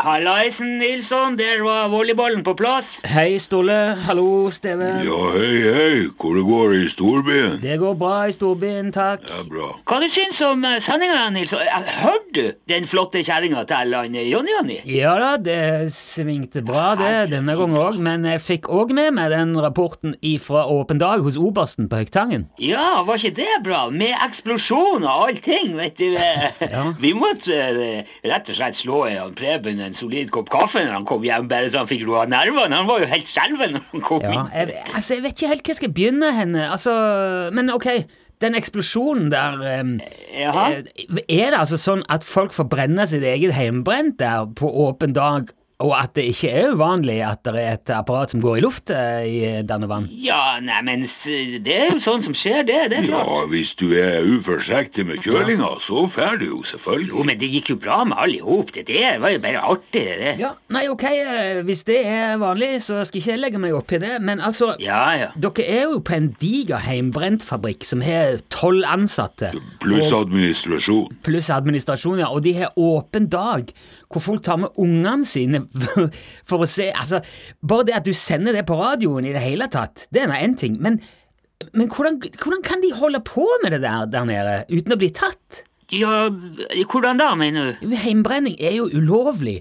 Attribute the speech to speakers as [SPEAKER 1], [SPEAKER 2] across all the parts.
[SPEAKER 1] Hallaisen, Nilsson. Der var volleyballen på plass.
[SPEAKER 2] Hei, Ståle. Hallo, Steve.
[SPEAKER 3] Ja, hei, hei, hvor det går i storbyen?
[SPEAKER 2] Det går bra i storbyen, takk.
[SPEAKER 3] Ja, bra.
[SPEAKER 1] Hva du syns om sendinga, Nilsson? Eh, Hørte du den flotte kjerringa til han, eh, Jonny Jonny?
[SPEAKER 2] Ja da, det svingte bra det denne gangen òg, men jeg fikk òg med meg den rapporten ifra Åpen dag hos obersten på Høgtangen.
[SPEAKER 1] Ja, var ikke det bra? Med eksplosjon og allting, vet du. eh.
[SPEAKER 2] Ja.
[SPEAKER 1] Vi måtte eh, rett og slett slå i han Preben en solid kopp kaffe når han kom hjem, bare så han fikk roa nervene. Han var jo helt skjelven når han kom
[SPEAKER 2] Ja,
[SPEAKER 1] inn.
[SPEAKER 2] jeg, altså, jeg vet ikke helt hvor jeg skal begynne henne, altså Men ok, den eksplosjonen der em,
[SPEAKER 1] Jaha.
[SPEAKER 2] eh, Er det altså sånn at folk forbrenner sitt eget hjemmebrent der på Åpen dag, og at det ikke er uvanlig at det er et apparat som går i luft eh, i Dannevann?
[SPEAKER 1] Ja, nei, men s- det er jo sånn som skjer, det. Det er bra.
[SPEAKER 3] Ja, hvis du er uforsiktig med kjølinga, så fær du jo
[SPEAKER 1] Jo,
[SPEAKER 3] selvfølgelig.
[SPEAKER 1] men det gikk jo bra med alle i hop. Det der var jo bare artig, det der.
[SPEAKER 2] Ja, nei, ok, eh, hvis det er vanlig, så skal ikke jeg legge meg opp i det, men altså
[SPEAKER 1] Ja, ja.
[SPEAKER 2] Dere er jo på en diger heimbrentfabrikk som har tolv ansatte,
[SPEAKER 3] Pluss administrasjon.
[SPEAKER 2] pluss administrasjon, ja, og de har åpen dag, hvor folk tar med ungene sine for, for å se Altså, bare det at du sender det på radioen i det hele tatt, det er nå én ting, men, men hvordan, hvordan kan de holde på med det der der nede uten å bli tatt?
[SPEAKER 1] Ja, hvordan da, mener du?
[SPEAKER 2] Heimbrenning er jo ulovlig,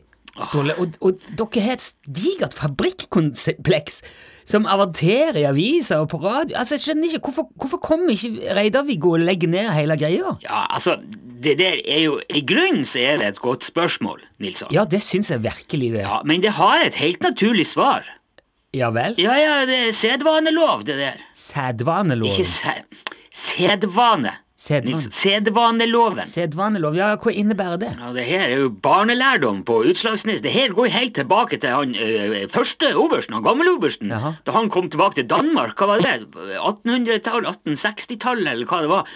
[SPEAKER 2] Ståle, og, og dere har et digert fabrikkompleks som averterer i aviser og på radio. Altså, jeg skjønner ikke, Hvorfor, hvorfor kommer ikke Reidarviggo og legger ned hele greia?
[SPEAKER 1] Ja, altså, det der er jo I grunnen så er det et godt spørsmål, Nilsson.
[SPEAKER 2] Ja, det syns jeg virkelig det.
[SPEAKER 1] Ja, men det har et helt naturlig svar.
[SPEAKER 2] Ja vel?
[SPEAKER 1] Ja, ja, det er sedvanelov, det der.
[SPEAKER 2] Sedvanelov.
[SPEAKER 1] Ikke se... Sedvane. Nilsson.
[SPEAKER 2] Sedvan.
[SPEAKER 1] Sedvaneloven.
[SPEAKER 2] Sedvanelov, ja, hva innebærer det?
[SPEAKER 1] Ja, det her er jo barnelærdom på Utslagsnes. Det her går jo helt tilbake til han ø, første obersten, han gammelobersten.
[SPEAKER 2] Jaha.
[SPEAKER 1] Da han kom tilbake til Danmark, hva var det? 1800-tallet, 1860-tallet, eller hva det var.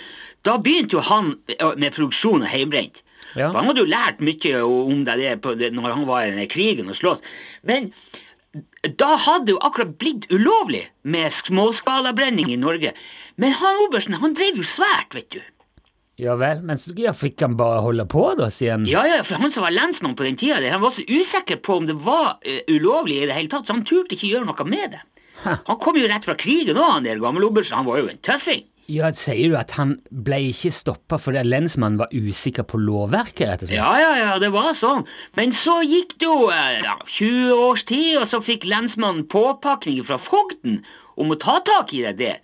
[SPEAKER 1] Da begynte jo han ø, med produksjon av heimbrent.
[SPEAKER 2] Ja.
[SPEAKER 1] Da hadde jo lært mye om det der på, det- når han var i den krigen og slåss. Men da hadde det jo akkurat blitt ulovlig med småskalabrenning i Norge. Men han obersten, han drev jo svært, vet du.
[SPEAKER 2] Ja vel, men så ja, fikk han bare holde på, da, siden
[SPEAKER 1] Ja, ja, for han som var lensmann på den tida, der, han var så usikker på om det var eh, ulovlig i det hele tatt, så han turte ikke gjøre noe med det.
[SPEAKER 2] Ha.
[SPEAKER 1] Han kom jo rett fra krigen òg, han der gammelobersten. Han var jo en tøffing.
[SPEAKER 2] Ja, Sier du at han ble ikke stoppa fordi lensmannen var usikker på lovverket, rett og slett?
[SPEAKER 1] Ja, ja, ja, det var sånn. Men så gikk det jo eh, ja, 20 års tid, og så fikk lensmannen påpakning fra fogden om å ta tak i det der.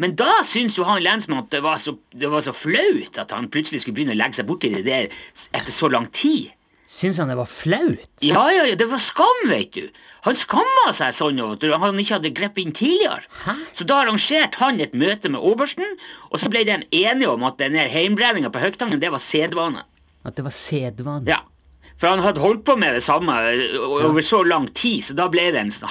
[SPEAKER 1] Men da syntes jo han lensmannen at det var, så, det var så flaut at han plutselig skulle begynne å legge seg borti det der etter så lang tid.
[SPEAKER 2] Syns han det var flaut?
[SPEAKER 1] Ja, ja, ja, det var skam, vet du. Han skamma seg sånn over at han ikke hadde grepet inn tidligere.
[SPEAKER 2] Hæ?
[SPEAKER 1] Så da arrangerte han et møte med obersten, og så ble de enige om at den heimbrenninga på Høgtangen, det var sedvane.
[SPEAKER 2] At det var sedvane?
[SPEAKER 1] Ja. For han hadde holdt på med det samme ø, over så lang tid, så da ble det en sånn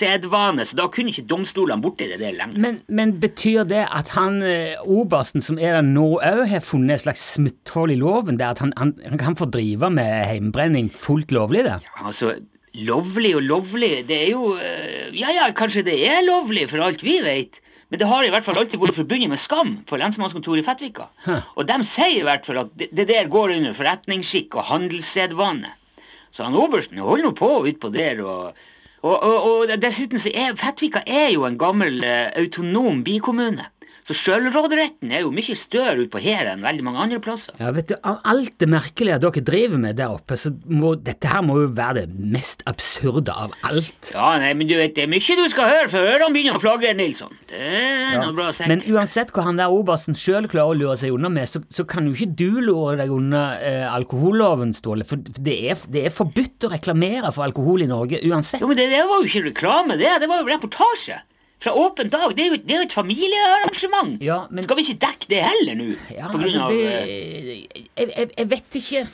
[SPEAKER 1] handelssedvane, så da kunne ikke domstolene borti det der lenger.
[SPEAKER 2] Men, men betyr det at han eh, obersten som er der nå òg, har funnet et slags smutthull i loven, der at han, han, han kan få drive med heimbrenning fullt lovlig der?
[SPEAKER 1] Altså, lovlig og lovlig, det er jo ø, Ja ja, kanskje det er lovlig, for alt vi vet. Men det har i hvert fall alltid vært forbundet med skam på lensmannskontoret i Fettvika.
[SPEAKER 2] Hæ.
[SPEAKER 1] Og de sier i hvert fall at det, det der går under forretningsskikk og handelssedvane. Så han obersten holder nå på utpå der og og, og, og dessuten så er Fettvika er jo en gammel eh, autonom bikommune. Så sjølråderetten er jo mye større ute på her enn veldig mange andre plasser.
[SPEAKER 2] Ja, vet du, Av alt det merkelige dere driver med der oppe, så må dette her må jo være det mest absurde av alt.
[SPEAKER 1] Ja, nei, men du vet, det er mye du skal høre før ørene begynner å flagre, Nilsson. Det er noe bra sagt.
[SPEAKER 2] Men uansett hva han der obersten sjøl klarer å lure seg unna med, så, så kan jo ikke du lure deg unna eh, alkoholloven, Ståle. For det er, det er forbudt å reklamere for alkohol i Norge uansett.
[SPEAKER 1] Jo, men det, det var jo ikke reklame, det. Det var jo reportasje. Fra Åpen dag. Det er jo, det er jo et familiearrangement.
[SPEAKER 2] Ja, men-
[SPEAKER 1] Skal vi ikke dekke det heller nå?
[SPEAKER 2] Ja,
[SPEAKER 1] På grunn
[SPEAKER 2] altså,
[SPEAKER 1] av,
[SPEAKER 2] det
[SPEAKER 1] eh,
[SPEAKER 2] jeg, jeg, jeg vet ikke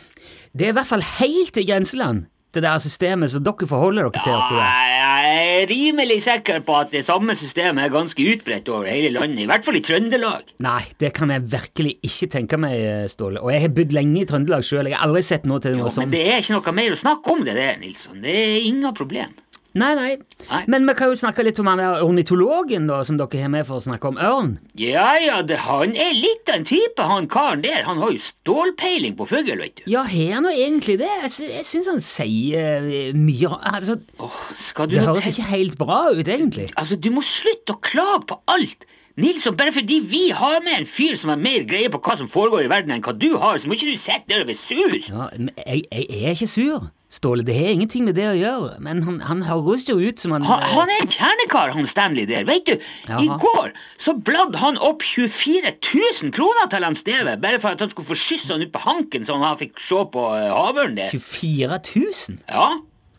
[SPEAKER 2] Det er i hvert fall helt i grenseland, det der systemet som dere forholder dere til oppi der.
[SPEAKER 1] Nei, Ah, Jeg er rimelig sikker på at det samme systemet er ganske utbredt over hele landet. I hvert fall i Trøndelag.
[SPEAKER 2] Nei, det kan jeg virkelig ikke tenke meg, eh, Ståle. Og jeg har bodd lenge i Trøndelag sjøl, jeg har aldri sett noe til noe
[SPEAKER 1] Jo, men
[SPEAKER 2] sånt.
[SPEAKER 1] det er ikke noe mer å snakke om det der, Nilsson. Det er inga problem.
[SPEAKER 2] Nei, nei,
[SPEAKER 1] Nei.
[SPEAKER 2] Men vi kan jo snakke litt om han der ornitologen da, som dere har med for å snakke om ørn.
[SPEAKER 1] Ja ja, det, han er litt av en type, han karen der. Han har jo stålpeiling på fugl, vet du.
[SPEAKER 2] Ja, har han jo egentlig det? Jeg, sy jeg syns han sier eh, mye altså,
[SPEAKER 1] Åh, skal du
[SPEAKER 2] Det
[SPEAKER 1] nå
[SPEAKER 2] høres
[SPEAKER 1] tenke-
[SPEAKER 2] ikke helt bra ut, egentlig.
[SPEAKER 1] Altså, du må slutte å klage på alt. Nilsson, bare fordi vi har med en fyr som har mer greie på hva som foregår i verden enn hva du har, så må ikke du sitte der og bli sur.
[SPEAKER 2] Ja, men jeg, jeg er ikke sur, Ståle. Det har ingenting med det å gjøre. Men han, han høres jo ut som han
[SPEAKER 1] Han, han er en kjernekar, han Stanley der. Vet du, i
[SPEAKER 2] Jaha.
[SPEAKER 1] går så bladde han opp 24 000 kroner til han Steve, bare for at han skulle få skysse han ut på hanken så han fikk se på eh, havørnen der.
[SPEAKER 2] 24 000.
[SPEAKER 1] Ja,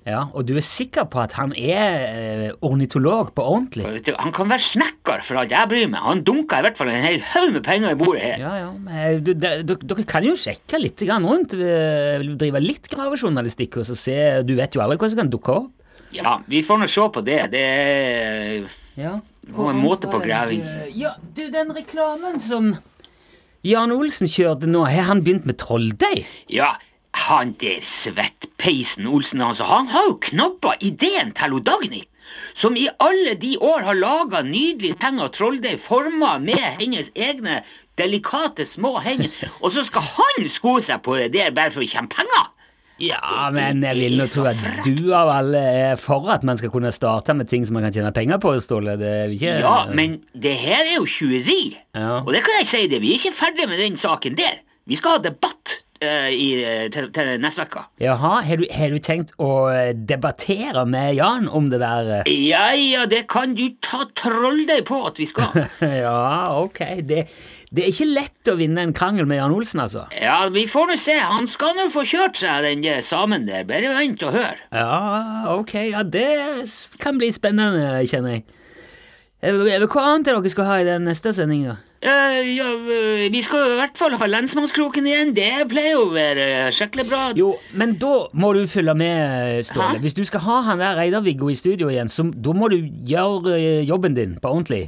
[SPEAKER 2] Ja, og du er sikker på at han er eh, ornitolog på ordentlig?
[SPEAKER 1] vet du, han kan være snekker for alt jeg bryr meg. Han dunka i hvert fall en hel haug med penger i bordet her.
[SPEAKER 2] Ja, ja. men, eh, du, de, dere- dere kan jo sjekke litt grann rundt. eh, Drive litt gravejournalistikk og så se Du vet jo aldri hva som kan dukke opp.
[SPEAKER 1] Ja, vi får nå se på det. Det er
[SPEAKER 2] Ja.
[SPEAKER 1] Hvor en måte på graving.
[SPEAKER 2] eh, Ja, du, den reklamen som Jan Olsen kjørte nå, har han begynt med trolldeig?
[SPEAKER 1] Ja, han der svettpeisen Olsen, altså, han har jo knabba ideen til hun Dagny. Som i alle de år har laga nydelige ting av trolldeig forma med hennes egne delikate små hender. Og så skal han sko seg på det der bare for å tjene penger!
[SPEAKER 2] Ja, men jeg vil nå tro at du av alle er for at man skal kunne starte med ting som man kan tjene penger på, Ståle. Det er jo ikke
[SPEAKER 1] Ja, men det her er jo tjuveri.
[SPEAKER 2] Ja.
[SPEAKER 1] Og det kan jeg si det, vi er ikke ferdig med den saken der. Vi skal ha debatt eh, i, eh, til, til neste uke.
[SPEAKER 2] Jaha, har du, har du tenkt å eh, debattere med Jan om det der? eh?
[SPEAKER 1] Ja ja, det kan du ta trolldeig på at vi skal.
[SPEAKER 2] Ja, ok. Det, det er ikke lett å vinne en krangel med Jan Olsen, altså.
[SPEAKER 1] Ja, vi får nå se. Han skal nå få kjørt seg, den der samen der. Bare vent og hør.
[SPEAKER 2] Ja, ok. Ja, det s- kan bli spennende, kjenner jeg. Eh, Hva annet er det dere skal ha i den neste sendinga?
[SPEAKER 1] Eh, ja, eh, vi skal i hvert fall ha lensmannskroken igjen. Det pleier å være eh, skikkelig bra.
[SPEAKER 2] Jo, men da må du følge med, Ståle.
[SPEAKER 1] Hæ?
[SPEAKER 2] Hvis du skal ha han der Reidar-Viggo i studio igjen, så da må du gjøre eh, jobben din på ordentlig.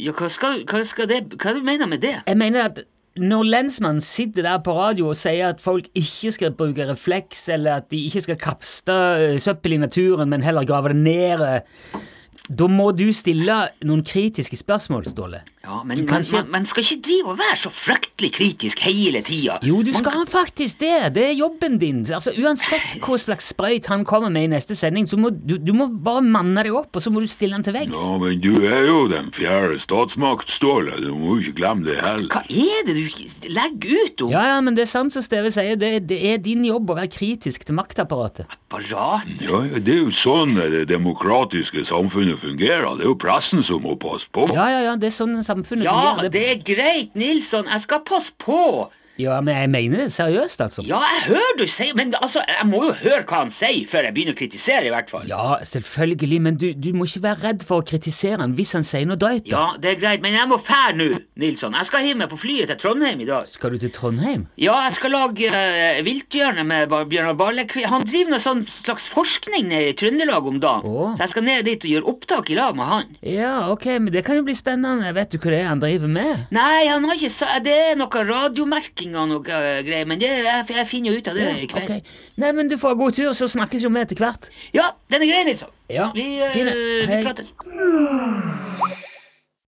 [SPEAKER 1] Ja, hva skal, hva skal det Hva du mener med det?
[SPEAKER 2] Jeg mener at når lensmannen sitter der på radio og sier at folk ikke skal bruke refleks, eller at de ikke skal kaste eh, søppel i naturen, men heller grave det ned eh, Da må du stille noen kritiske spørsmål, Ståle.
[SPEAKER 1] Ja, men
[SPEAKER 2] Du kan
[SPEAKER 1] man,
[SPEAKER 2] ikke-
[SPEAKER 1] man, man skal ikke drive og være så fryktelig kritisk hele tida.
[SPEAKER 2] Jo, du
[SPEAKER 1] Man-
[SPEAKER 2] skal faktisk det! Det er jobben din. Altså, Uansett hva slags sprøyt han kommer med i neste sending, så må du, du må bare manne deg opp, og så må du stille han til veggs.
[SPEAKER 3] Ja, men du er jo den fjerde statsmakt, Ståle. Du må jo ikke glemme det heller.
[SPEAKER 1] Hva er det du legger ut om
[SPEAKER 2] Ja, ja, men det er sant som Steve sier, det, det er din jobb å være kritisk til maktapparatet.
[SPEAKER 1] apparat?
[SPEAKER 3] Ja, ja, Det er jo sånn det demokratiske samfunnet fungerer. Det er jo pressen som må passe på.
[SPEAKER 2] Ja, ja, ja, det er sånn samfunnet
[SPEAKER 1] Ja,
[SPEAKER 2] fungerer.
[SPEAKER 1] det er greit, Nilsson. Jeg skal passe på.
[SPEAKER 2] Ja, men jeg mener det seriøst, altså.
[SPEAKER 1] Ja, jeg hører du sier Men altså, jeg må jo høre hva han sier, før jeg begynner å kritisere, i hvert fall.
[SPEAKER 2] Ja, selvfølgelig, men du, du må ikke være redd for å kritisere han hvis han sier noe drøyt. da.
[SPEAKER 1] Ja, det er greit, men jeg må fære nå, Nilsson. Jeg skal hive meg på flyet til Trondheim i dag.
[SPEAKER 2] Skal du til Trondheim?
[SPEAKER 1] Ja, jeg skal lage uh, viltbjørne med Bar- Bjørnar Barlekvi. Han driver noe sånn slags forskning nede i Trøndelag om dagen.
[SPEAKER 2] Åh.
[SPEAKER 1] Så jeg skal ned dit og gjøre opptak i lag med han.
[SPEAKER 2] Ja, ok, men det kan jo bli spennende. Vet du hva det er han driver med?
[SPEAKER 1] Nei, han har ikke sa... Det er noe radiomerking og noe eh, greier, men det, jeg, jeg finner jo ut av det i kveld.
[SPEAKER 2] ok. Nei, men du får ha god tur, så snakkes jo vi etter hvert.
[SPEAKER 1] Ja, den er grei, Nilsson.
[SPEAKER 2] Ja,
[SPEAKER 1] eh, Vi, eh,
[SPEAKER 2] fine.
[SPEAKER 1] vi
[SPEAKER 2] Hei.
[SPEAKER 1] prates.